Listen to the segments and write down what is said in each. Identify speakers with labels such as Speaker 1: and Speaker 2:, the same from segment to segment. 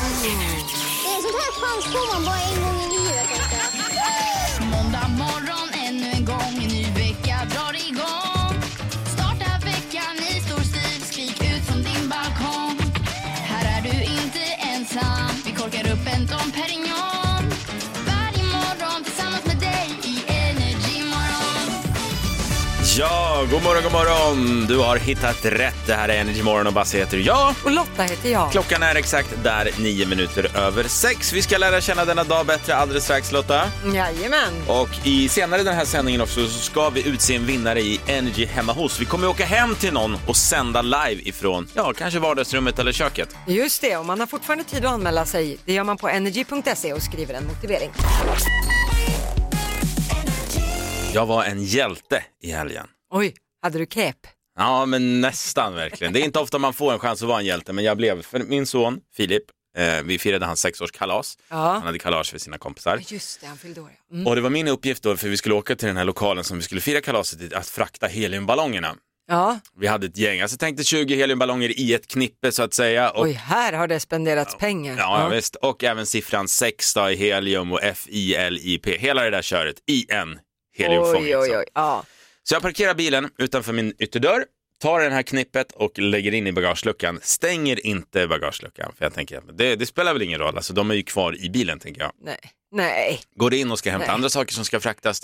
Speaker 1: Det är sånt här chans får man bara en gång i livet. Alltså.
Speaker 2: Måndag morgon ännu en gång, en ny vecka drar igång. Starta veckan i stor stil, skrik ut från din balkong. Här är du inte ensam, vi korkar upp en Dom Perignon. Varje morgon tillsammans med dig i Energy Morgon.
Speaker 3: Ja, god morgon, god morgon. Du har hittat rätt. Det här är Energy Morgon och Basse heter jag.
Speaker 4: Och Lotta heter jag.
Speaker 3: Klockan är exakt där, nio minuter över sex. Vi ska lära känna denna dag bättre alldeles strax, Lotta.
Speaker 4: Jajamän.
Speaker 3: Och i senare den här sändningen också så ska vi utse en vinnare i Energy hemma hos. Vi kommer åka hem till någon och sända live ifrån, ja, kanske vardagsrummet eller köket.
Speaker 4: Just det, och man har fortfarande tid att anmäla sig. Det gör man på energy.se och skriver en motivering.
Speaker 3: Jag var en hjälte i helgen.
Speaker 4: Oj, hade du cap?
Speaker 3: Ja, men nästan verkligen. Det är inte ofta man får en chans att vara en hjälte, men jag blev för min son Filip. Eh, vi firade hans sexårskalas.
Speaker 4: Ja.
Speaker 3: Han hade kalas för sina kompisar.
Speaker 4: Just det, han fyllde år. ja. Mm.
Speaker 3: Och det var min uppgift då, för vi skulle åka till den här lokalen som vi skulle fira kalaset i, att frakta heliumballongerna.
Speaker 4: Ja,
Speaker 3: Vi hade ett gäng, alltså tänkte 20 heliumballonger i ett knippe så att säga. Och,
Speaker 4: oj, här har det spenderats pengar.
Speaker 3: ja, ja. Visst. och även siffran 6 då i helium och F-I-L-I-P, hela det där köret i en heliumfång.
Speaker 4: Oj, oj,
Speaker 3: liksom.
Speaker 4: oj. Ja.
Speaker 3: Så jag parkerar bilen utanför min ytterdörr, tar den här knippet och lägger in i bagageluckan. Stänger inte bagageluckan, för jag tänker att det, det spelar väl ingen roll, alltså de är ju kvar i bilen tänker jag.
Speaker 4: Nej. Nej.
Speaker 3: Går in och ska hämta
Speaker 4: Nej.
Speaker 3: andra saker som ska fraktas.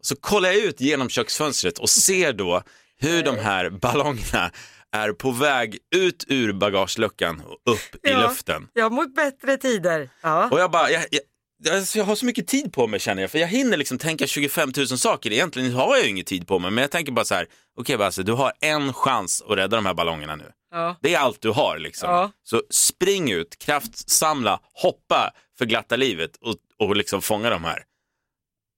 Speaker 3: Så kollar jag ut genom köksfönstret och ser då hur de här ballongerna är på väg ut ur bagageluckan och upp i
Speaker 4: Ja.
Speaker 3: luften.
Speaker 4: Jag mot bättre tider. Ja.
Speaker 3: Och jag bara, jag, jag, jag- alltså jag har så mycket tid på mig känner jag, för jag hinner liksom tänka 25 000 saker. Egentligen har jag ju ingen tid på mig, men jag tänker bara så här, okej Basse, du har en chans att rädda de här ballongerna nu.
Speaker 4: Ja.
Speaker 3: Det är allt du har liksom.
Speaker 4: Ja.
Speaker 3: Så spring ut, kraftsamla, hoppa för glatta livet och, och liksom fånga de här.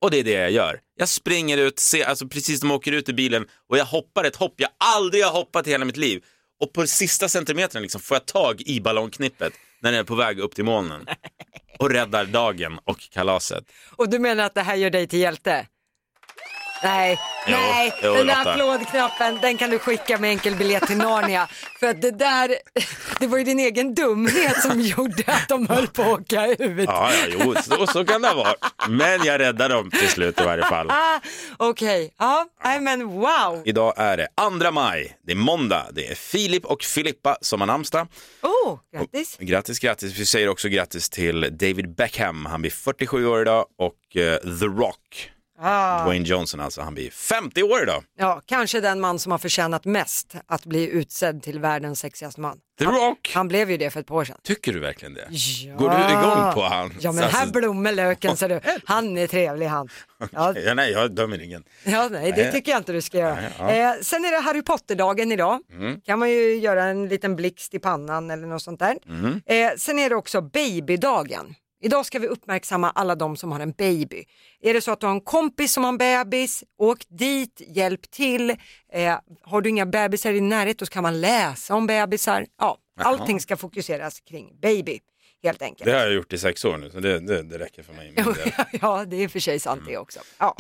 Speaker 3: Och det är det jag gör. Jag springer ut, ser, alltså precis de åker ut ur bilen och jag hoppar ett hopp jag aldrig har hoppat i hela mitt liv. Och på sista centimetern liksom får jag tag i ballongknippet när den är på väg upp till molnen. Och räddar dagen och kalaset.
Speaker 4: Och du menar att det här gör dig till hjälte? Nej,
Speaker 3: Jo,
Speaker 4: nej,
Speaker 3: jo,
Speaker 4: den där
Speaker 3: Lotta.
Speaker 4: applådknappen den kan du skicka med enkel biljett till Narnia. För att det där, det var ju din egen dumhet som gjorde att de höll på att åka ut.
Speaker 3: Ja, ja, jo, så, så kan det vara. Men jag räddar dem till slut i varje fall.
Speaker 4: Ah, Okej, ja, nej men wow.
Speaker 3: Idag är det 2 maj, det är måndag, det är Filip och Filippa som har namnsdag.
Speaker 4: Oh, grattis.
Speaker 3: Grattis, grattis. Vi säger också grattis till David Beckham, han blir 47 år idag och eh, The Rock,
Speaker 4: Ah.
Speaker 3: Wayne Johnson alltså, han blir 50 år idag.
Speaker 4: Ja, kanske den man som har förtjänat mest att bli utsedd till världens sexigaste man.
Speaker 3: The Rock!
Speaker 4: Han blev ju det för ett par år sedan.
Speaker 3: Tycker du verkligen det?
Speaker 4: Ja.
Speaker 3: Går du igång på han?
Speaker 4: Ja men här
Speaker 3: Alltså,
Speaker 4: blommar löken ser du. Han är trevlig han. Ja,
Speaker 3: ja, nej, jag dömer ingen.
Speaker 4: Ja, nej, det tycker jag inte du ska göra.
Speaker 3: Nej, ja. Mm.
Speaker 4: Eh, sen är det Harry Potter-dagen idag. Kan man ju göra en liten blixt i pannan eller något sånt där.
Speaker 3: Mm.
Speaker 4: Eh, sen är det också babydagen. Idag ska vi uppmärksamma alla de som har en baby. Är det så att du har en kompis som har en bebis, åk dit, hjälp till. Eh, har du inga bebisar i din närhet då kan man läsa om bebisar. Ja, allting ska fokuseras kring baby helt enkelt.
Speaker 3: Det har jag gjort i sex år nu, så det, det, det räcker för mig. i min del.
Speaker 4: ja, det är i och för sig sant det också. Ja.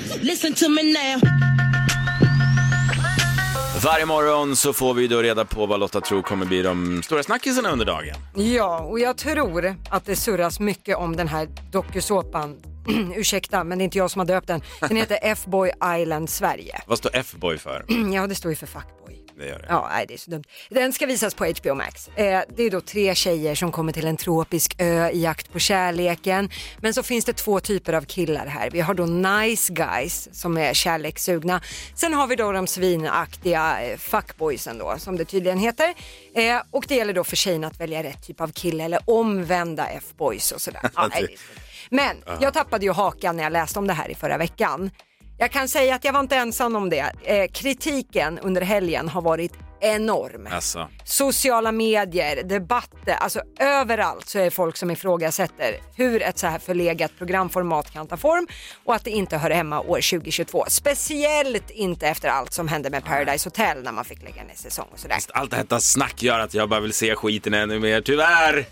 Speaker 3: Varje morgon så får vi då reda på vad Lotta tror kommer bli de stora snackisarna under dagen.
Speaker 4: Ja, och jag tror att det surras mycket om den här dokusåpan. Ursäkta, men det är inte jag som har döpt den. Den heter F-Boy Island Sverige.
Speaker 3: Vad står F-boy för?
Speaker 4: ja, det står ju för fuckboy.
Speaker 3: Det gör det.
Speaker 4: Ja, nej, det är så dumt. Den ska visas på HBO Max. Eh, det är då tre tjejer som kommer till en tropisk ö i jakt på kärleken. Men så finns det två typer av killar här. Vi har då nice guys som är kärlekssugna. Sen har vi då de svinaktiga eh, fuckboysen då som det tydligen heter. Eh, och det gäller då för tjejerna att välja rätt typ av kille eller omvända F-boys och sådär. Ja, nej, det är så dumt. Men jag tappade ju hakan när jag läste om det här i förra veckan. Jag kan säga att jag var inte ensam om det. Eh, kritiken under helgen har varit enorm.
Speaker 3: Alltså.
Speaker 4: Sociala medier, debatter, alltså överallt så är det folk som ifrågasätter hur ett så här förlegat programformat kan ta form och att det inte hör hemma år 2022. Speciellt inte efter allt som hände med Paradise Hotel när man fick lägga ner säsong och sådär.
Speaker 3: Allt detta snack gör att jag bara vill se skiten ännu mer, tyvärr.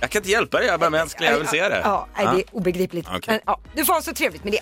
Speaker 3: Jag kan inte hjälpa dig, jag är bara mänsklig, jag vill se det.
Speaker 4: Ja, nej, det är obegripligt.
Speaker 3: Okej.
Speaker 4: Men, ja, det får vara så trevligt med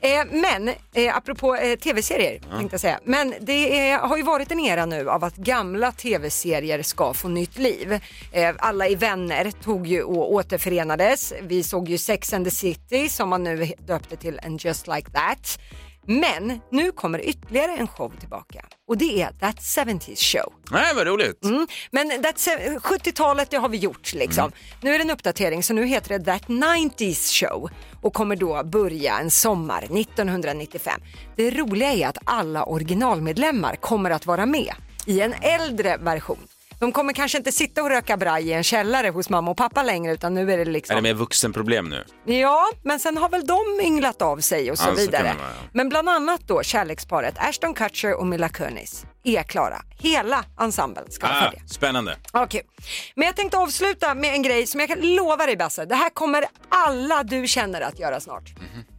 Speaker 4: det. Eh, men eh, apropå eh, tv-serier tänkte jag säga. Men det är, har ju varit en era nu av att gamla tv-serier ska få nytt liv. Eh, alla i Vänner tog ju och återförenades. Vi såg ju Sex and the City som man nu döpte till And Just Like That. Men nu kommer ytterligare en show tillbaka och det är That 70s Show.
Speaker 3: Nej, vad roligt.
Speaker 4: Mm. Men that's, eh, 70-talet det har vi gjort liksom.
Speaker 3: Mm.
Speaker 4: Nu är det en uppdatering så nu heter det That 90s Show och kommer då börja en sommar 1995. Det roliga är att alla originalmedlemmar kommer att vara med i en äldre version. De kommer kanske inte sitta och röka braj i en källare hos mamma och pappa längre utan nu är det liksom
Speaker 3: Är det mer vuxenproblem nu?
Speaker 4: Ja, men sen har väl de ynglat av sig och så
Speaker 3: Ja, så
Speaker 4: vidare.
Speaker 3: kan det vara, ja.
Speaker 4: Men bland annat då kärleksparet Ashton Kutcher och Mila Kunis är klara. Hela ensemblen ska vara
Speaker 3: Ah,
Speaker 4: färdiga.
Speaker 3: spännande.
Speaker 4: Ja, kul. Men jag tänkte avsluta med en grej som jag kan lova dig Basse, det här kommer alla du känner att göra snart.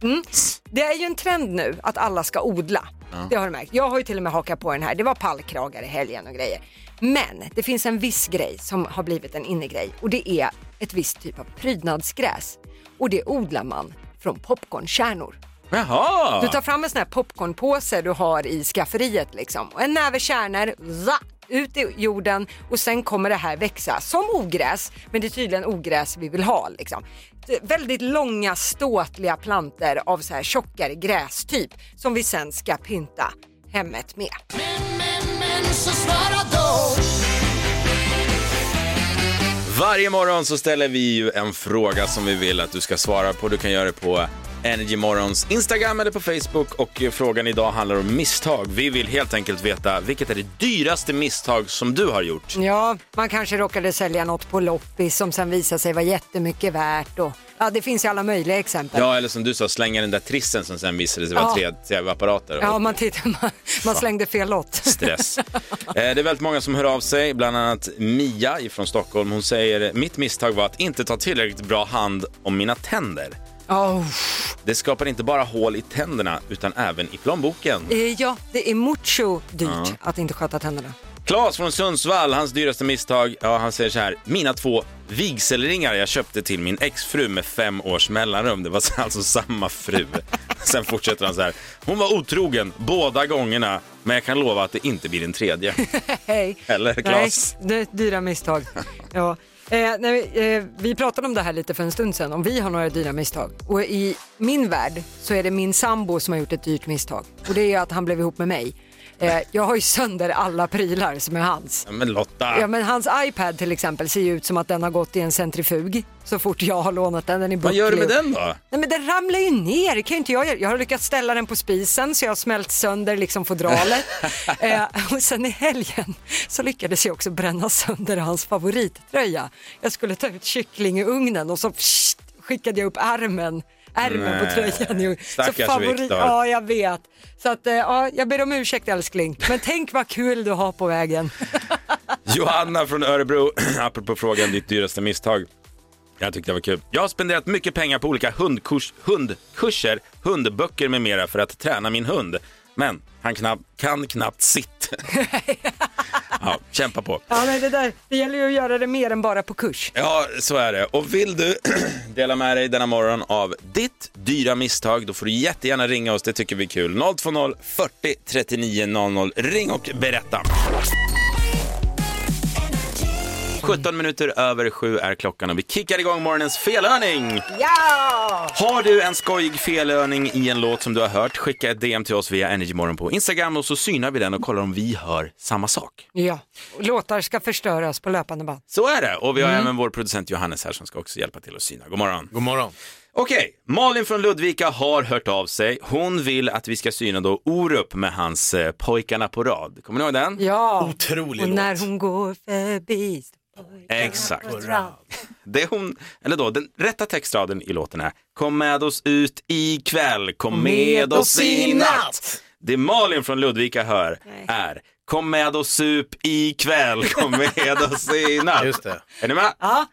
Speaker 4: Mm. Det är ju en trend nu att alla ska odla. Det har du märkt. Jag har ju till och med hakat på den här. Det var pallkragar i helgen och grejer. Men det finns en viss grej som har blivit en innegrej och det är ett visst typ av prydnadsgräs. Och det odlar man från popcornkärnor.
Speaker 3: Jaha!
Speaker 4: Du tar fram en sån här popcornpåse du har i skafferiet liksom och en näve kärnor, za, ut i jorden och sen kommer det här växa som ogräs, men det är tydligen ogräs vi vill ha liksom. Det är Väldigt långa ståtliga planter av så här tjockare grästyp som vi sen ska pynta hemmet med.
Speaker 2: Men, men, men så svara då
Speaker 3: Varje morgon så ställer vi ju en fråga som vi vill att du ska svara på. Du kan göra det på Energy Morgons Instagram eller på Facebook och eh, frågan idag handlar om misstag. Vi vill helt enkelt veta vilket är det dyraste misstag som du har gjort?
Speaker 4: Ja, man kanske råkade sälja något på loppis som sen visade sig vara jättemycket värt och ja, det finns ju alla möjliga exempel.
Speaker 3: Ja, eller som du sa, slänga den där trissen som sen visade sig vara
Speaker 4: Mm. Ja.
Speaker 3: tre tv-apparater.
Speaker 4: Ja, man, tittar, man, man slängde fel lott.
Speaker 3: stress. Eh, Det är väldigt många som hör av sig, bland annat Mia från Stockholm. Hon säger mitt misstag var att inte ta tillräckligt bra hand om mina tänder.
Speaker 4: Oh.
Speaker 3: Det skapar inte bara hål i tänderna utan även i plånboken.
Speaker 4: Eh, Ja, det är mucho dyrt att inte sköta tänderna.
Speaker 3: Claes från Sundsvall, hans dyraste misstag, ja, han säger så här. Mina två vigselringar jag köpte till min exfru med fem års mellanrum. Det var alltså samma fru. Sen fortsätter han så här. Hon var otrogen båda gångerna, men jag kan lova att det inte blir den tredje.
Speaker 4: Hej.
Speaker 3: Eller Claes.
Speaker 4: Nej, det är ett dyra misstag. ja. eh, nej, eh, vi pratade om det här lite för en stund sedan, om vi har några dyra misstag. Och i min värld så är det min sambo som har gjort ett dyrt misstag. Och det är att han blev ihop med mig. Eh, jag har ju sönder alla prylar som är hans.
Speaker 3: Ja, Men Lotta,
Speaker 4: Ja men hans iPad till exempel ser ju ut som att den har gått i en centrifug så fort jag har lånat den. den är
Speaker 3: vad gör du med
Speaker 4: bucklig.
Speaker 3: den då?
Speaker 4: Nej men den ramlar ju ner, det kan ju inte jag göra. Jag har lyckats ställa den på spisen så jag har smält sönder liksom fodralet. eh, och sen i helgen så lyckades jag också bränna sönder hans favorittröja. Jag skulle ta ut kyckling i ugnen och så pssst, skickade jag upp armen ärmen på
Speaker 3: Nej,
Speaker 4: tröjan. i ugnen. så
Speaker 3: stackars Viktor.
Speaker 4: Ja, jag vet. Så att, eh, ja, jag ber om ursäkt älskling. Men tänk vad kul du har på vägen.
Speaker 3: Johanna från Örebro, apropå frågan ditt dyraste misstag. Jag tyckte det var kul. Jag har spenderat mycket pengar på olika hundkurs, hundkurser, hundböcker med mera för att träna min hund. Men han knapp, kan knappt sitt. ja, kämpa på.
Speaker 4: Ja, men det, där, det gäller ju att göra det mer än bara på kurs.
Speaker 3: Ja, så är det. Och vill du dela med dig denna morgon av ditt dyra misstag, då får du jättegärna ringa oss. Det tycker vi är kul. 020 40 39 00. Ring och berätta. 17 minuter över sju är klockan och vi kickar igång morgonens felhörning.
Speaker 4: Ja!
Speaker 3: Har du en skojig felhörning i en låt som du har hört, skicka ett DM till oss via Energymorgon på Instagram och så synar vi den och kollar om vi hör samma sak.
Speaker 4: Ja, låtar ska förstöras på löpande band.
Speaker 3: Så är det. Och vi har även vår producent Johannes här som ska också hjälpa till att syna. God morgon.
Speaker 5: God morgon.
Speaker 3: Okej, Malin från Ludvika har hört av sig. Hon vill att vi ska syna då Orup med hans eh, Pojkarna på rad. Kommer ni ihåg den?
Speaker 4: Ja.
Speaker 5: Otrolig
Speaker 4: Och
Speaker 5: låt.
Speaker 4: när hon går förbi.
Speaker 3: Exakt. Det är hon, eller då, den rätta textraden i låten är Kom med oss ut ikväll, kom med oss i natt. Det Malin från Ludvika hör är Kom med oss sup ikväll, kom med oss i natt.
Speaker 5: Just det.
Speaker 3: Är ni med?
Speaker 4: Ja,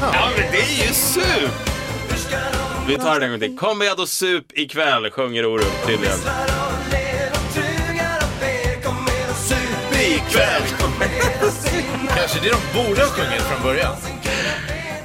Speaker 3: Ja, men det är ju sup! Vi tar det en gång till. Kom med och sup ikväll, sjunger Orup tydligen.
Speaker 5: Kanske det de borde ha sjungit från början.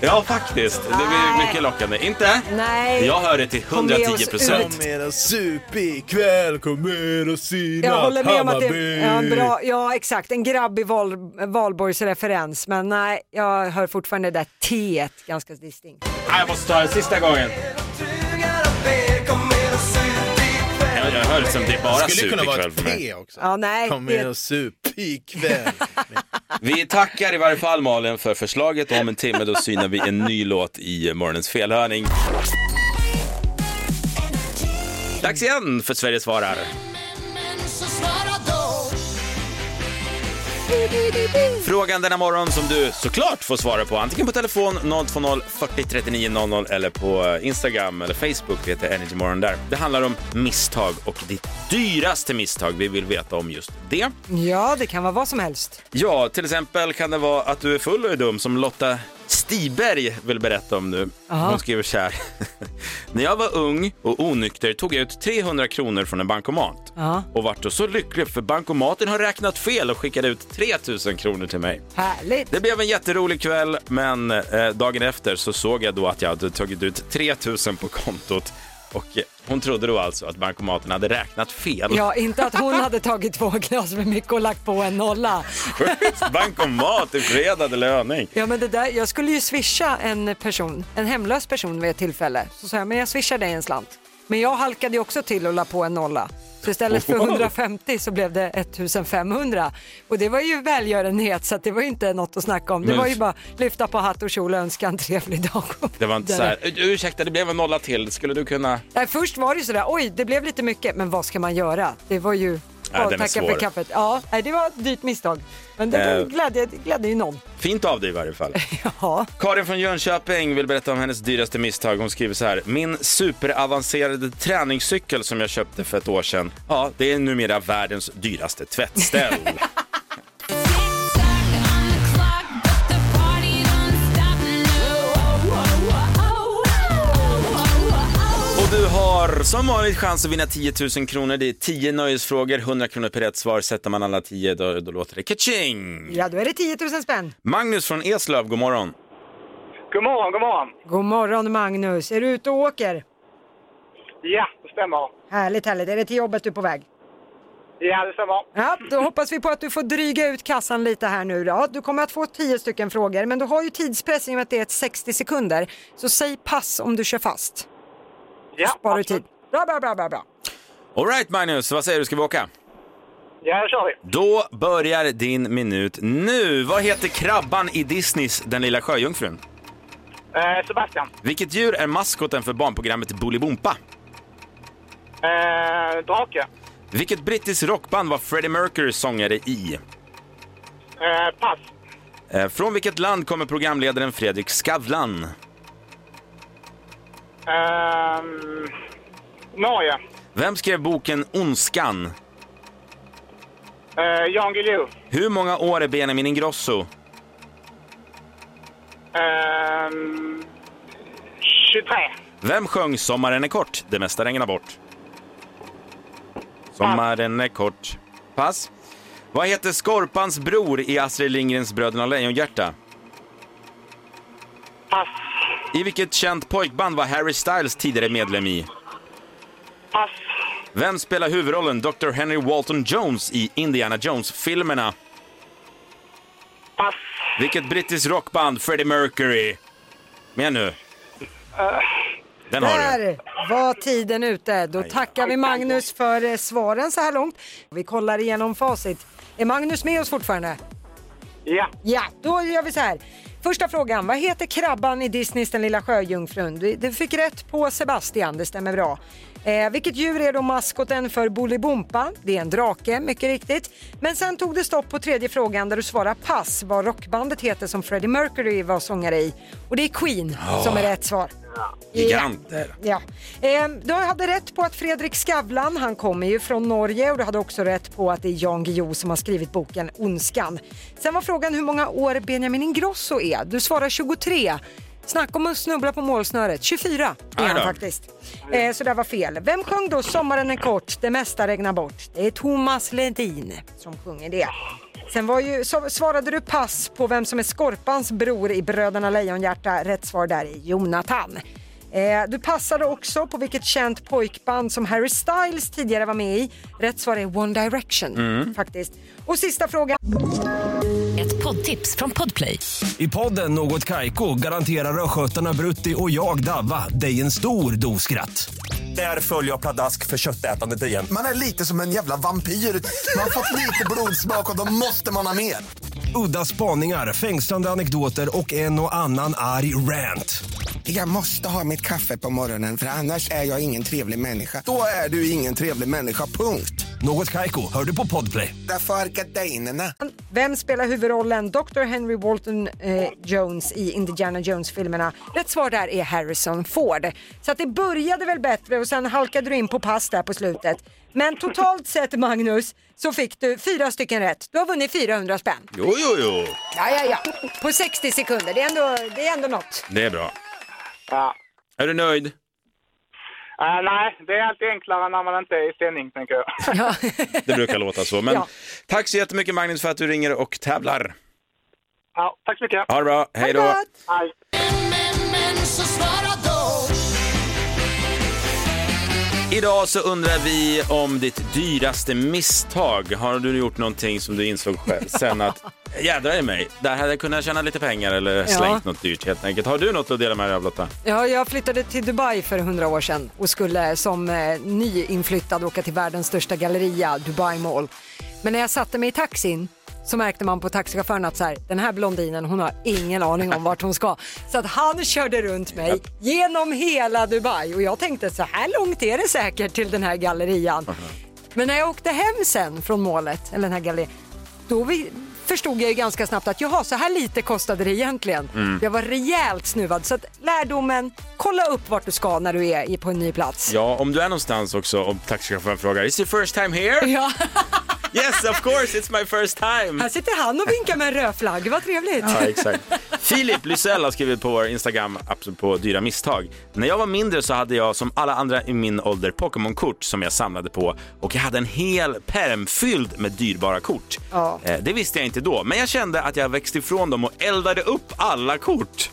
Speaker 3: Ja, faktiskt. Det blir mycket lockande. Inte?
Speaker 4: Nej.
Speaker 3: Jag hör det till
Speaker 4: Kom med oss
Speaker 3: 110
Speaker 4: ut.
Speaker 3: procent.
Speaker 5: Kom med och sup ikväll, kom med och syna
Speaker 4: Jag håller med om att det
Speaker 5: Hammarby.
Speaker 4: ja, bra, ja exakt, en grabbig Val, valborgsreferens men nej jag hör fortfarande det där T ganska distinkt.
Speaker 3: Jag måste ta det sista gången. Jag, jag hör det som det är bara
Speaker 5: skulle kunna vara
Speaker 3: superkväll för
Speaker 5: ett
Speaker 3: mig.
Speaker 5: P också.
Speaker 4: Ja, nej,
Speaker 5: Kom
Speaker 4: det-
Speaker 5: med och sup ikväll.
Speaker 3: Vi tackar i varje fall Malin för förslaget och om en timme då synar vi en ny låt i eh, morgonens felhörning. Dags igen för Sverige svarar. Frågan denna morgon som du såklart får svara på antingen på telefon 020 40 39 00 eller på eh, Instagram eller Facebook. Det heter Energymorgon där. Det handlar om misstag och ditt dyraste misstag. Vi vill veta om just det.
Speaker 4: Ja det kan vara vad som helst.
Speaker 3: Ja, till exempel kan det vara att du är full och är dum som Lotta Stiberg vill berätta om nu. Hon skriver så här. När jag var ung och onykter tog jag ut 300 kronor från en bankomat
Speaker 4: Ja.
Speaker 3: och vart då så lycklig för bankomaten har räknat fel och skickade ut 3000 kronor till mig.
Speaker 4: Härligt.
Speaker 3: Det blev en jätterolig kväll, men eh, dagen efter så såg jag då att jag hade tagit ut 3000 på kontot och eh, hon trodde då alltså att bankomaten hade räknat fel.
Speaker 4: Ja inte att hon hade tagit två glas med mycket och lagt på en nolla.
Speaker 3: Sjukt! Bankomat i fredad löning.
Speaker 4: Ja men det där, jag skulle ju swisha en person, en hemlös person vid ett tillfälle. Så sa jag, men jag swishar dig en slant. Men jag halkade ju också till och la på en nolla. Så istället för
Speaker 3: Wow.
Speaker 4: 150 så blev det 1500. Och det var ju välgörenhet så att det var ju inte något att snacka om. Det
Speaker 3: Men-
Speaker 4: var ju bara lyfta på hatt och kjol och önska en trevlig dag.
Speaker 3: Det var inte så här, "Ur- ursäkta det blev en nolla till, skulle du kunna?
Speaker 4: Nej, först var det ju sådär, oj det blev lite mycket, men vad ska man göra? Det var ju
Speaker 3: Nej,
Speaker 4: Åh,
Speaker 3: den är
Speaker 4: tacka
Speaker 3: svår.
Speaker 4: för kaffet. Ja, nej, det var ett dyrt misstag. Men det
Speaker 3: Eh.
Speaker 4: var- glädde, glädde ju någon.
Speaker 3: Fint av dig i varje fall.
Speaker 4: Ja.
Speaker 3: Karin från Jönköping vill berätta om hennes dyraste misstag. Hon skriver så här. Min superavancerade träningscykel som jag köpte för ett år sedan. Ja, det är numera världens dyraste tvättställ. Och du har som vanligt chans att vinna 10 000 kronor. Det är 10 nöjesfrågor, 100 kronor per rätt svar. Sätter man alla 10 då, då låter det kaching!
Speaker 4: ja, då är det 10 000 spänn.
Speaker 3: Magnus från Eslöv, god morgon.
Speaker 6: God morgon, god morgon.
Speaker 4: God morgon Magnus, är du ute och åker?
Speaker 6: Ja, det stämmer.
Speaker 4: Härligt, härligt. Är det till jobbet du är på väg?
Speaker 6: Ja, det stämmer.
Speaker 4: Ja, då hoppas vi på att du får dryga ut kassan lite här nu då. Du kommer att få tio stycken frågor, men du har ju tidspress i och med att det är ett 60 sekunder. Så säg pass om du kör fast.
Speaker 6: Ja,
Speaker 4: Sparar du tid.
Speaker 6: absolut.
Speaker 4: Bra, bra, bra, bra, bra.
Speaker 3: Alright Magnus, vad säger du, ska vi åka?
Speaker 6: Ja, det kör vi.
Speaker 3: Då börjar din minut nu. Vad heter krabban i Disneys Den lilla sjöjungfrun?
Speaker 6: Eh, Sebastian.
Speaker 3: Vilket djur är maskoten för barnprogrammet Bolibompa?
Speaker 6: Eh, drake.
Speaker 3: Vilket brittiskt rockband var Freddie Mercury sångare i?
Speaker 6: Eh, pass.
Speaker 3: Eh, Från vilket land kommer programledaren Fredrik Skavlan?
Speaker 6: Eh, Norge.
Speaker 3: Vem skrev boken Ondskan?
Speaker 6: Eh, Jan Guillou.
Speaker 3: Hur många år är Benjamin Ingrosso?
Speaker 6: Eh, 23.
Speaker 3: Vem sjöng Sommaren är kort, det mesta regnar bort? Sommaren är kort. Pass. Vad heter Skorpans bror i Astrid Lindgrens Bröderna Lejonhjärta?
Speaker 6: Pass.
Speaker 3: I vilket känt pojkband var Harry Styles tidigare medlem i?
Speaker 6: Pass.
Speaker 3: Vem spelar huvudrollen Dr. Henry Walton Jones i Indiana Jones-filmerna?
Speaker 6: Pass.
Speaker 3: Vilket brittiskt rockband Freddie Mercury? Med nu. Den har du.
Speaker 4: Där var tiden ute. Då tackar vi Magnus för eh, svaren så här långt. Vi kollar igenom facit. Är Magnus med oss fortfarande?
Speaker 6: Ja.
Speaker 4: Ja, då gör vi så här. Första frågan, vad heter krabban i Disneys Den lilla sjöjungfrun? Du, du fick rätt på Sebastian, det stämmer bra. Eh, vilket djur är då maskoten för Bolibompa? Det är en drake, mycket riktigt. Men sen tog det stopp på tredje frågan där du svarar pass, vad rockbandet heter som Freddie Mercury var sångare i. Och det är Queen som är rätt svar.
Speaker 3: Giganter.
Speaker 4: Ja. Eh, du hade rätt på att Fredrik Skavlan, han kommer ju från Norge och du hade också rätt på att det är Jan Guillou som har skrivit boken Ondskan. Sen var frågan hur många år Benjamin Ingrosso är. Du svarar 23. Snacka om att snubbla på målsnöret. 24 är
Speaker 3: Aj
Speaker 4: han
Speaker 3: då.
Speaker 4: faktiskt. Eh, så det var fel. Vem sjöng då Sommaren är kort, det mesta regnar bort? Det är Thomas Ledin som sjunger det. Sen var ju, så, svarade du pass på vem som är Skorpans bror i Bröderna Lejonhjärta. Rätt svar där är Jonathan. Eh, du passade också på vilket känt pojkband som Harry Styles tidigare var med i. Rätt svar är One Direction faktiskt. Och sista frågan.
Speaker 7: Ett poddtips från Podplay.
Speaker 8: I podden Något Kaiko garanterar östgötarna Brutti och jag, Davva, dig en stor dos skratt. Där följer jag pladask för köttätandet igen.
Speaker 9: Man är lite som en jävla vampyr. Man har fått lite blodsmak och då måste man ha mer.
Speaker 8: Udda spaningar, fängslande anekdoter och en och annan arg rant.
Speaker 9: Jag måste ha mitt kaffe på morgonen för annars är jag ingen trevlig människa. Då är du ingen trevlig människa, punkt.
Speaker 8: Något Kaiko, hör du på Podplay.
Speaker 9: Därför är gardinerna.
Speaker 4: Vem spelar huvudrollen Dr. Henry Walton eh, Jones i Indiana Jones-filmerna? Rätt svar där är Harrison Ford. Så att det började väl bättre och sen halkade du in på pass där på slutet. Men totalt sett Magnus så fick du fyra stycken rätt. Du har vunnit 400 spänn.
Speaker 3: Jo, jo, jo.
Speaker 4: Ja, ja, ja. På 60 sekunder. Det är ändå, det är ändå något.
Speaker 3: Det är bra.
Speaker 6: Ja.
Speaker 3: Är du nöjd?
Speaker 6: Eh, nej, det är alltid enklare när man inte är i sändning, tänker jag.
Speaker 4: Ja.
Speaker 3: Det brukar låta så. Men
Speaker 4: Ja.
Speaker 3: tack så jättemycket Magnus för att du ringer och tävlar.
Speaker 6: Ja, tack så mycket.
Speaker 3: Ha det bra, hej då.
Speaker 4: Gott.
Speaker 6: Hej.
Speaker 2: Men, men, så svara då.
Speaker 3: Idag så undrar vi om ditt dyraste misstag. Har du gjort någonting som du insåg själv sen att jädrar i mig, där hade jag kunnat tjäna lite pengar eller slängt något dyrt helt enkelt. Har du något att dela med dig av Lotta?
Speaker 4: Ja, jag flyttade till Dubai för hundra år sedan och skulle som eh, nyinflyttad åka till världens största galleria, Dubai Mall. Men när jag satte mig i taxin så märkte man på taxichauffören att så här, den här blondinen hon har ingen aning om vart hon ska. Så att han körde runt mig genom hela Dubai och jag tänkte så här långt är det säkert till den här gallerian. Men när jag åkte hem sen från målet, eller den här gallerian, då vi, förstod jag ju ganska snabbt att jaha, så här lite kostade det egentligen.
Speaker 3: Mm.
Speaker 4: Jag var rejält snuvad. Så att lärdomen, kolla upp vart du ska när du är i- på en ny plats.
Speaker 3: Ja, om du är någonstans också om taxichauffören frågar Is it first time here?
Speaker 4: Ja.
Speaker 3: Yes of course it's my first time!
Speaker 4: Här sitter han och vinkar med en röd flagg, vad trevligt.
Speaker 3: Ja, exakt. Filip Lysell har skrivit på vår Instagram, apropå dyra misstag. När jag var mindre så hade jag som alla andra i min ålder Pokémon-kort som jag samlade på och jag hade en hel pärm fylld med dyrbara kort.
Speaker 4: Ja.
Speaker 3: Eh, Det visste jag inte då, men jag kände att jag växte ifrån dem och eldade upp alla kort.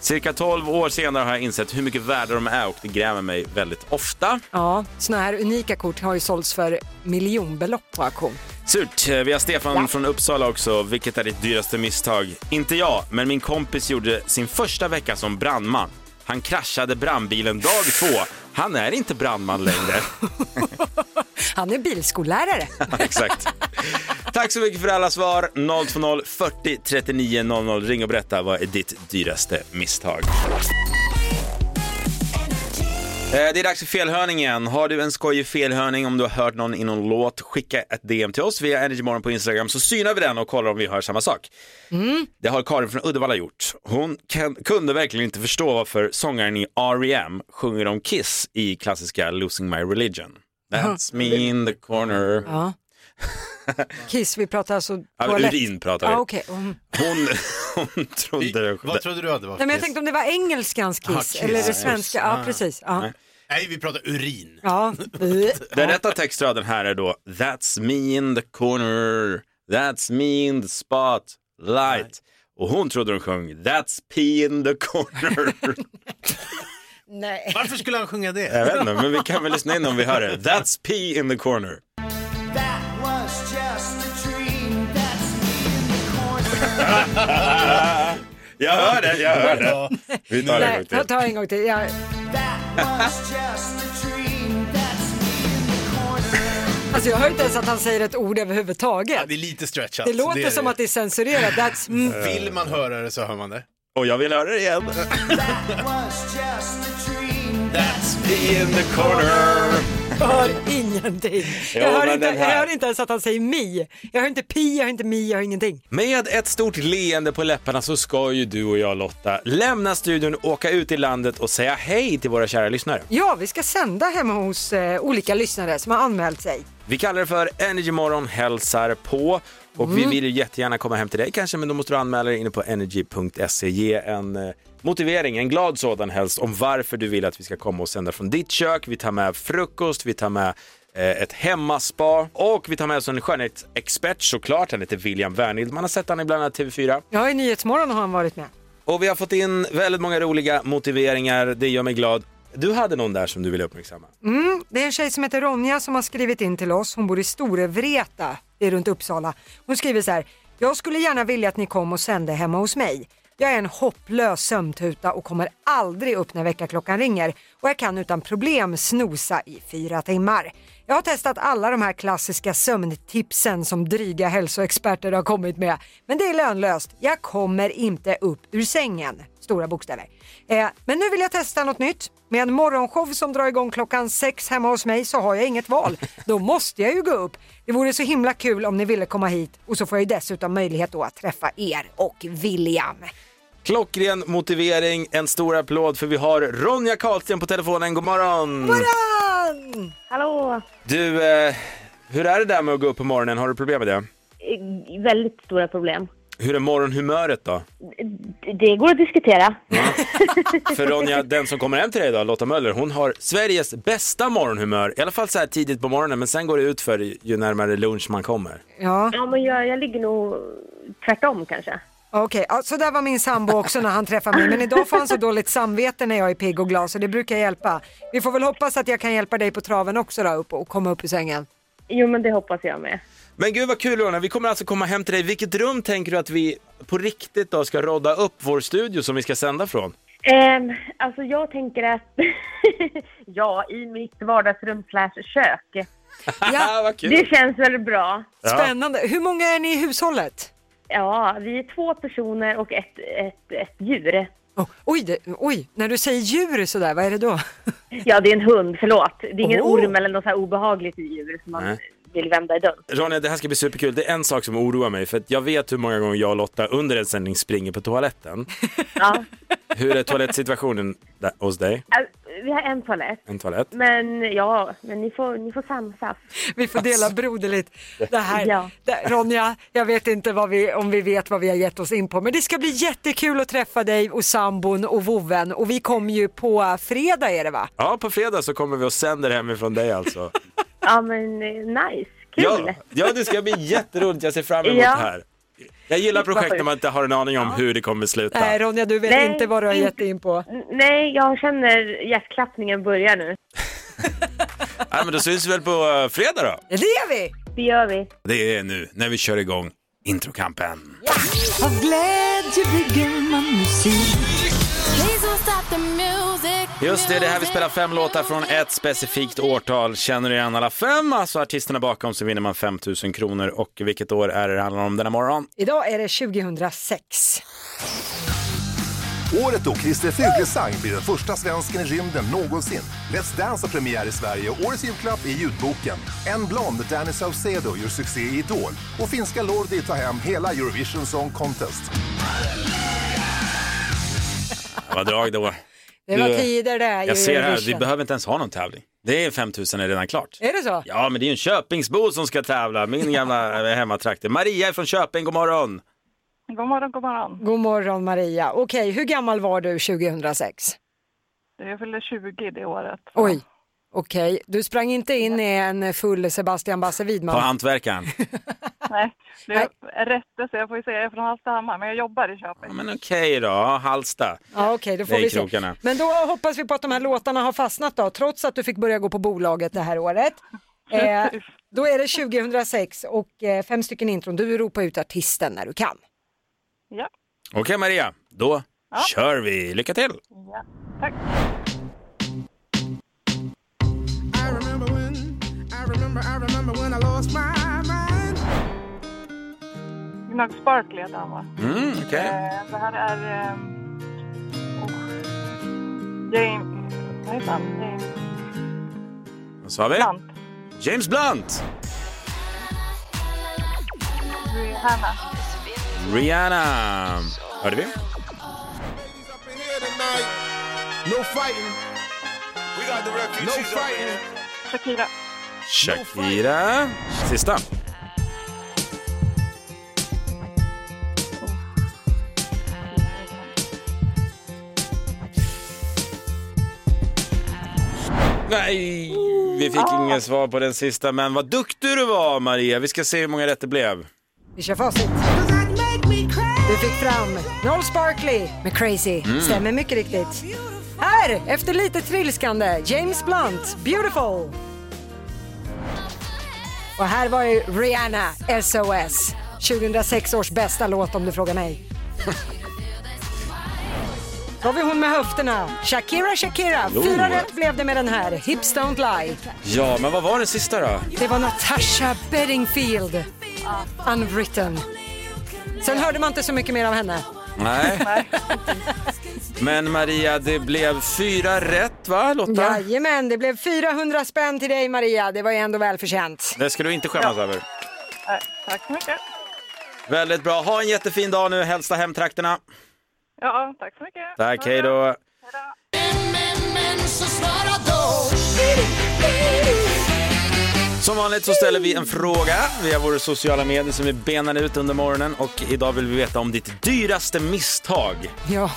Speaker 3: Cirka 12 år senare har jag insett hur mycket värda de är och det grämer mig väldigt ofta.
Speaker 4: Ja, sådana här unika kort har ju sålts för miljonbelopp på auktion.
Speaker 3: Surt. Eh, Vi har Stefan från Uppsala också. Vilket är ditt dyraste misstag? Inte jag, men min kompis gjorde sin första vecka som brandman. Han kraschade brandbilen dag två. Han är inte brandman längre.
Speaker 4: Han är bilskollärare.
Speaker 3: Exakt. Tack så mycket för alla svar. 020 40 39 00. Ring och berätta vad är ditt dyraste misstag. Eh, Det är dags för felhörning igen. Har du en skojig felhörning om du har hört någon i någon låt, skicka ett DM till oss via Energymorgon på Instagram så synar vi den och kollar om vi hör samma sak. Det har Karin från Uddevalla gjort. Hon kan, kunde verkligen inte förstå varför sångaren i R.E.M. sjunger om Kiss i klassiska Losing My Religion. That's me in the corner.
Speaker 4: Ja. Kiss, vi pratar alltså
Speaker 3: Ja,
Speaker 4: toalett.
Speaker 3: urin pratar vi.
Speaker 4: Ja, okej. Mm.
Speaker 3: Hon, hon trodde det.
Speaker 5: Vad trodde du att det var
Speaker 4: Nej,
Speaker 5: för
Speaker 4: men jag
Speaker 5: kiss?
Speaker 4: tänkte om det var engelskans kiss,
Speaker 5: Ah, Kiss,
Speaker 4: eller det
Speaker 5: ja,
Speaker 4: svenska.
Speaker 5: just.
Speaker 4: Ja, precis. Ja.
Speaker 5: Nej, vi pratar urin.
Speaker 4: Ja.
Speaker 3: Den rätta textraden här är då That's me in the corner, that's me in the spot, light. Och hon trodde hon sjöng That's P in the corner.
Speaker 4: Nej.
Speaker 5: Varför skulle han sjunga det?
Speaker 3: jag vet inte, men vi kan väl lyssna in om vi hör det. That's P in the corner. Jag hör det, jag hör det.
Speaker 5: Ja.
Speaker 3: Vi tar det en
Speaker 4: Nej,
Speaker 3: gång till.
Speaker 4: jag tar en gång till. Ja. Alltså jag hör inte ens att han säger ett ord överhuvudtaget.
Speaker 5: Det är lite stretchat.
Speaker 4: Det
Speaker 3: alltså,
Speaker 4: låter
Speaker 5: är
Speaker 4: som att det är censurerat. That's, mm.
Speaker 5: Vill man höra det så hör man det.
Speaker 3: Och jag vill höra det igen.
Speaker 5: That's
Speaker 3: In the corner.
Speaker 4: Jag hör ingenting.
Speaker 3: Jo,
Speaker 4: Jag hör,
Speaker 3: men
Speaker 4: inte,
Speaker 3: den
Speaker 4: jag
Speaker 3: här.
Speaker 4: hör inte ens att han säger mi. Jag hör inte pi, jag hör inte mi, jag hör ingenting.
Speaker 3: Med ett stort leende på läpparna så ska ju du och jag Lotta lämna studion, åka ut i landet och säga hej till våra kära lyssnare.
Speaker 4: Ja, vi ska sända hemma hos eh, olika lyssnare som har anmält sig.
Speaker 3: Vi kallar det för Energy Morgon hälsar på och vi vill ju jättegärna komma hem till dig kanske men då måste du anmäla dig inne på energy.se. Ge en eh, motivering, en glad sådan helst om varför du vill att vi ska komma och sända från ditt kök. Vi tar med frukost, vi tar med eh, ett hemmaspa och vi tar med oss en skönhetsexpert såklart. Han heter William Wernhild. Man har sett honom i bland annat TV4.
Speaker 4: Ja, i Nyhetsmorgon har han varit med.
Speaker 3: Och vi har fått in väldigt många roliga motiveringar. Det gör mig glad. Du hade någon där som du ville uppmärksamma.
Speaker 4: Det är en tjej som heter Ronja som har skrivit in till oss. Hon bor i Storevreta, det är runt Uppsala. Hon skriver så här. Jag skulle gärna vilja att ni kom och sände hemma hos mig. Jag är en hopplös sömntuta och kommer aldrig upp när väckarklockan ringer och jag kan utan problem snosa i fyra timmar. Jag har testat alla de här klassiska sömntipsen som dryga hälsoexperter har kommit med, men det är lönlöst. Jag kommer inte upp ur sängen stora bokstäver. Eh, men nu vill jag testa något nytt. Med en morgonshow som drar igång klockan sex hemma hos mig så har jag inget val. Då måste jag ju gå upp. Det vore så himla kul om ni ville komma hit och så får jag ju dessutom möjlighet då att träffa er och William.
Speaker 3: Klockren motivering, en stor applåd för vi har Ronja Karlsten på telefonen. God morgon!
Speaker 4: Morgon!
Speaker 10: Hallå!
Speaker 3: Du, eh, hur är det där med att gå upp på morgonen? Har du problem med det?
Speaker 10: Eh, Väldigt stora problem.
Speaker 3: Hur är morgonhumöret då?
Speaker 10: D- Det går att diskutera.
Speaker 3: För Ronja, den som kommer hem till dig idag, Lotta Möller, hon har Sveriges bästa morgonhumör. I alla fall så här tidigt på morgonen, men sen går det ut för ju närmare lunch man kommer.
Speaker 4: Ja,
Speaker 10: Ja, men jag, jag ligger nog tvärtom kanske.
Speaker 4: okej. Ja, så där var min sambo också när han träffade mig. Men idag får han så dåligt samvete när jag är pigg och glad så det brukar hjälpa. Vi får väl hoppas att jag kan hjälpa dig på traven också då upp och komma upp ur sängen.
Speaker 10: Jo, men det hoppas jag med.
Speaker 3: Men gud vad kul Ronja, vi kommer alltså komma hem till dig. Vilket rum tänker du att vi på riktigt då ska rodda upp vår studio som vi ska sända från?
Speaker 10: Ehm, alltså jag tänker att, ja, i mitt vardagsrum slash kök.
Speaker 3: Ah,
Speaker 4: Ja,
Speaker 3: vad kul!
Speaker 10: Det känns väl bra.
Speaker 4: spännande. Hur många är ni i hushållet?
Speaker 10: Ja, vi är två personer och ett, ett, ett djur.
Speaker 4: Oh, oj, det, oj, när du säger djur sådär, vad är det då?
Speaker 10: Ja, det är en hund, förlåt. Det är ingen
Speaker 4: Oh.
Speaker 10: orm eller något så här obehagligt djur som man
Speaker 3: Nej.
Speaker 10: vill vända i dörren.
Speaker 3: Ronja, det här ska bli superkul. Det är en sak som oroar mig, för att jag vet hur många gånger jag och Lotta under en sändning springer på toaletten.
Speaker 10: Ja.
Speaker 3: Hur är toalettsituationen där, hos dig?
Speaker 10: Eh, Vi har en toalett.
Speaker 3: En toalett?
Speaker 10: Men ja, men ni får, ni får samsas.
Speaker 4: Vi får dela broderligt. Det här,
Speaker 10: Ja.
Speaker 4: det, Ronja, jag vet inte vad vi, om vi vet vad vi har gett oss in på, men det ska bli jättekul att träffa dig och sambon och vovven och vi kommer ju på fredag är det va?
Speaker 3: Ja, på fredag så kommer vi och sänder hemifrån dig alltså.
Speaker 10: Ja, men eh, nice. Kul.
Speaker 3: Ja, ja, det ska bli jätteroligt. Jag ser fram emot
Speaker 10: Ja.
Speaker 3: det här. Jag gillar projekt när man inte har en aning om hur det kommer sluta.
Speaker 4: Nej Eh, Ronja, du vet
Speaker 10: Nej, Mm.
Speaker 4: inte vad du har
Speaker 10: inte.
Speaker 4: gett dig in på.
Speaker 10: N- Nej, jag känner hjärtklappningen börjar nu.
Speaker 3: Nej, men då syns vi väl på eh, fredag då.
Speaker 4: Det gör vi!
Speaker 10: Det gör vi.
Speaker 3: Det är nu när vi kör igång introkampen.
Speaker 2: Av glädje bygger man musik.
Speaker 3: Just det, det är här vi spelar fem låtar från ett specifikt årtal. Känner du igen alla fem, alltså artisterna bakom, så vinner man 5 000 kronor. Och vilket år är det det handlar om denna morgon?
Speaker 4: Idag är det 2006.
Speaker 11: Året då Christer Fuglesang blir den första svensken i rymden någonsin. Let's Dance har premiär i Sverige och årets julklapp är ljudboken. En blond, Danny Saucedo, gör succé i Idol och finska Lordi tar hem hela Eurovision Song Contest.
Speaker 3: Det var drag då.
Speaker 4: Det var
Speaker 3: Du,
Speaker 4: tider där.
Speaker 3: Jag ser här, vi
Speaker 4: Eurovision.
Speaker 3: behöver inte ens ha någon tävling. Det är 5 000 är redan klart.
Speaker 4: Är det så?
Speaker 3: Ja, men det är ju en Köpingsbo som ska tävla, min gamla eh, hemmatrakter. Maria är från Köping, god morgon.
Speaker 12: God morgon, god morgon.
Speaker 4: God morgon Maria. Okej, hur gammal var du 2006?
Speaker 12: Jag fyllde 20 det året.
Speaker 4: Oj, okej. Du sprang inte in i en full Sebastian Basse
Speaker 3: På
Speaker 4: Widman?
Speaker 3: Hantverkaren.
Speaker 12: Nej, det är rättelse. Jag får ju säga, jag är från Hallstahammar, men jag jobbar i
Speaker 3: Ja,
Speaker 12: Köping.
Speaker 3: men okej då, Ja, Halsta.
Speaker 4: Ja, okej, då får
Speaker 3: Nej,
Speaker 4: vi se.
Speaker 3: krokarna.
Speaker 4: Men då hoppas vi på att de här låtarna har fastnat då, trots att du fick börja gå på bolaget det här året. Eh, då är det 2006 och eh, fem stycken intron. Du ropar ut artisten när du kan.
Speaker 12: Ja,
Speaker 3: Okej Maria, då kör vi. Lycka till!
Speaker 12: ja. Tack.
Speaker 13: I remember when, I remember, I remember when I lost my mind.
Speaker 12: Gnug Sparkly heter han va?
Speaker 3: Mm, okej.
Speaker 12: Eh, Det här är... Eh, oh, James... Vad heter han? James
Speaker 3: Vad sa vi?
Speaker 12: Blunt.
Speaker 3: James Blunt!
Speaker 12: Rihanna.
Speaker 3: Rihanna! Hörde vi?
Speaker 13: No fighting. We got the refugees No fighting.
Speaker 12: Shakira.
Speaker 3: Shakira. Sista. Nej, vi fick inget svar på den sista, men vad duktig du var Maria. Vi ska se hur många rätt det blev.
Speaker 4: Vi kör facit. Du fick fram Noel Sparkley med Crazy.
Speaker 3: Mm.
Speaker 4: Stämmer mycket riktigt. Här, efter lite trilskande, James Blunt, Beautiful. Och här var ju Rihanna, SOS. 2006 års bästa låt om du frågar mig. Då har vi hon med höfterna, Shakira Shakira.
Speaker 3: Jo.
Speaker 4: Fyra rätt blev det med den här, Hips Don't Lie.
Speaker 3: Ja, men vad var den sista då?
Speaker 4: Det var Natasha Bedingfield, Unwritten. Sen hörde man inte så mycket mer av henne.
Speaker 3: Nej. Men Maria, det blev fyra rätt va Lotta?
Speaker 4: Jajamän, det blev 400 spänn till dig Maria. Det var ju ändå välförtjänt.
Speaker 3: Det ska du inte skämmas över.
Speaker 12: Tack så mycket.
Speaker 3: Väldigt bra. Ha en jättefin dag nu. Hälsa hemtrakterna.
Speaker 12: Ja, tack så mycket.
Speaker 3: Tack, hej då. Som vanligt så ställer vi en fråga via våra sociala medier som vi benar ut under morgonen och idag vill vi veta om ditt dyraste misstag.
Speaker 4: Ja.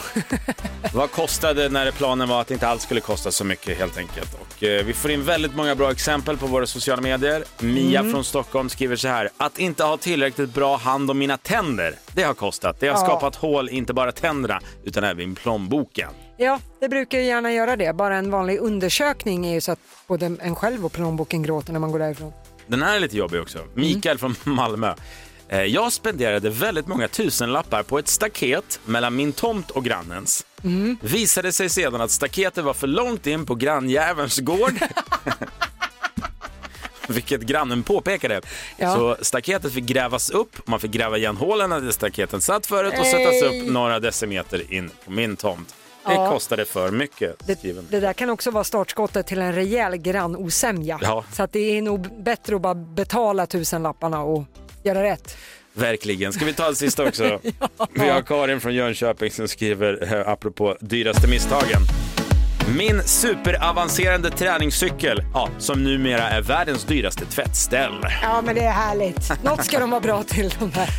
Speaker 3: Vad kostade när planen var att det inte alls skulle kosta så mycket helt enkelt? Och eh, vi får in väldigt många bra exempel på våra sociala medier. Mia
Speaker 14: Mm.
Speaker 3: från Stockholm skriver så här. Att inte ha tillräckligt bra hand om mina tänder, det har kostat. Det har
Speaker 4: Ja.
Speaker 3: skapat hål, inte bara tänderna, utan även plånboken.
Speaker 4: Ja, det brukar ju gärna göra det. Bara en vanlig undersökning är ju så att både en själv och plånboken gråter när man går därifrån.
Speaker 3: Den här är lite jobbig också. Mikael från Malmö. Eh, Jag spenderade väldigt många tusenlappar på ett staket mellan min tomt och grannens.
Speaker 4: Mm.
Speaker 3: Visade sig sedan att staketet var för långt in på grannjävelns gård. Vilket grannen påpekade.
Speaker 4: Ja.
Speaker 3: Så staketet fick grävas upp, man fick gräva igen hålen där staketen satt förut och sättas
Speaker 4: Nej.
Speaker 3: upp några decimeter in på min tomt. Det
Speaker 4: Ja.
Speaker 3: kostade för mycket, skriver
Speaker 4: Det där kan också vara startskottet till en rejäl grannosämja.
Speaker 3: Ja.
Speaker 4: Så att det är nog bättre att bara betala tusenlapparna och göra rätt.
Speaker 3: Verkligen. Ska vi ta en sista också? Vi har Karin från Jönköping som skriver eh, apropå dyraste misstagen. Min superavancerande träningscykel, ja, som numera är världens dyraste tvättställ.
Speaker 4: Ja, men det är härligt. Något ska de vara bra till de här.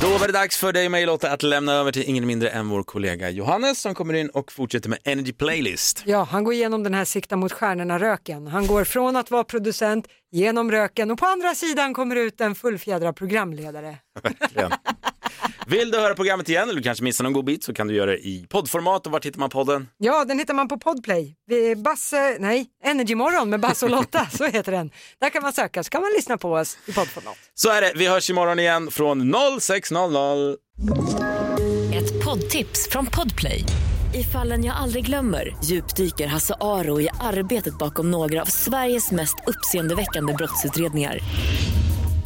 Speaker 3: Då var det dags för dig och mig Lotta att lämna över till ingen mindre än vår kollega Johannes som kommer in och fortsätter med Energy Playlist.
Speaker 4: Ja, han går igenom den här sikta mot stjärnorna-röken. Han går från att vara producent genom röken och på andra sidan kommer ut en fullfjädrad programledare.
Speaker 3: Verkligen. Vill du höra programmet igen eller du kanske missar någon god bit så kan du göra det i poddformat och vart hittar man podden?
Speaker 4: Ja, den hittar man på Podplay. Vi är Basse, nej, Energymorgon med Basse och Lotta, så heter den. Där kan man söka så kan man lyssna på oss i poddformat.
Speaker 3: Så är det, vi hörs imorgon igen från 06.00.
Speaker 7: Ett poddtips från Podplay. I fallen jag aldrig glömmer djupdyker Hasse Aro i arbetet bakom några av Sveriges mest uppseendeväckande brottsutredningar.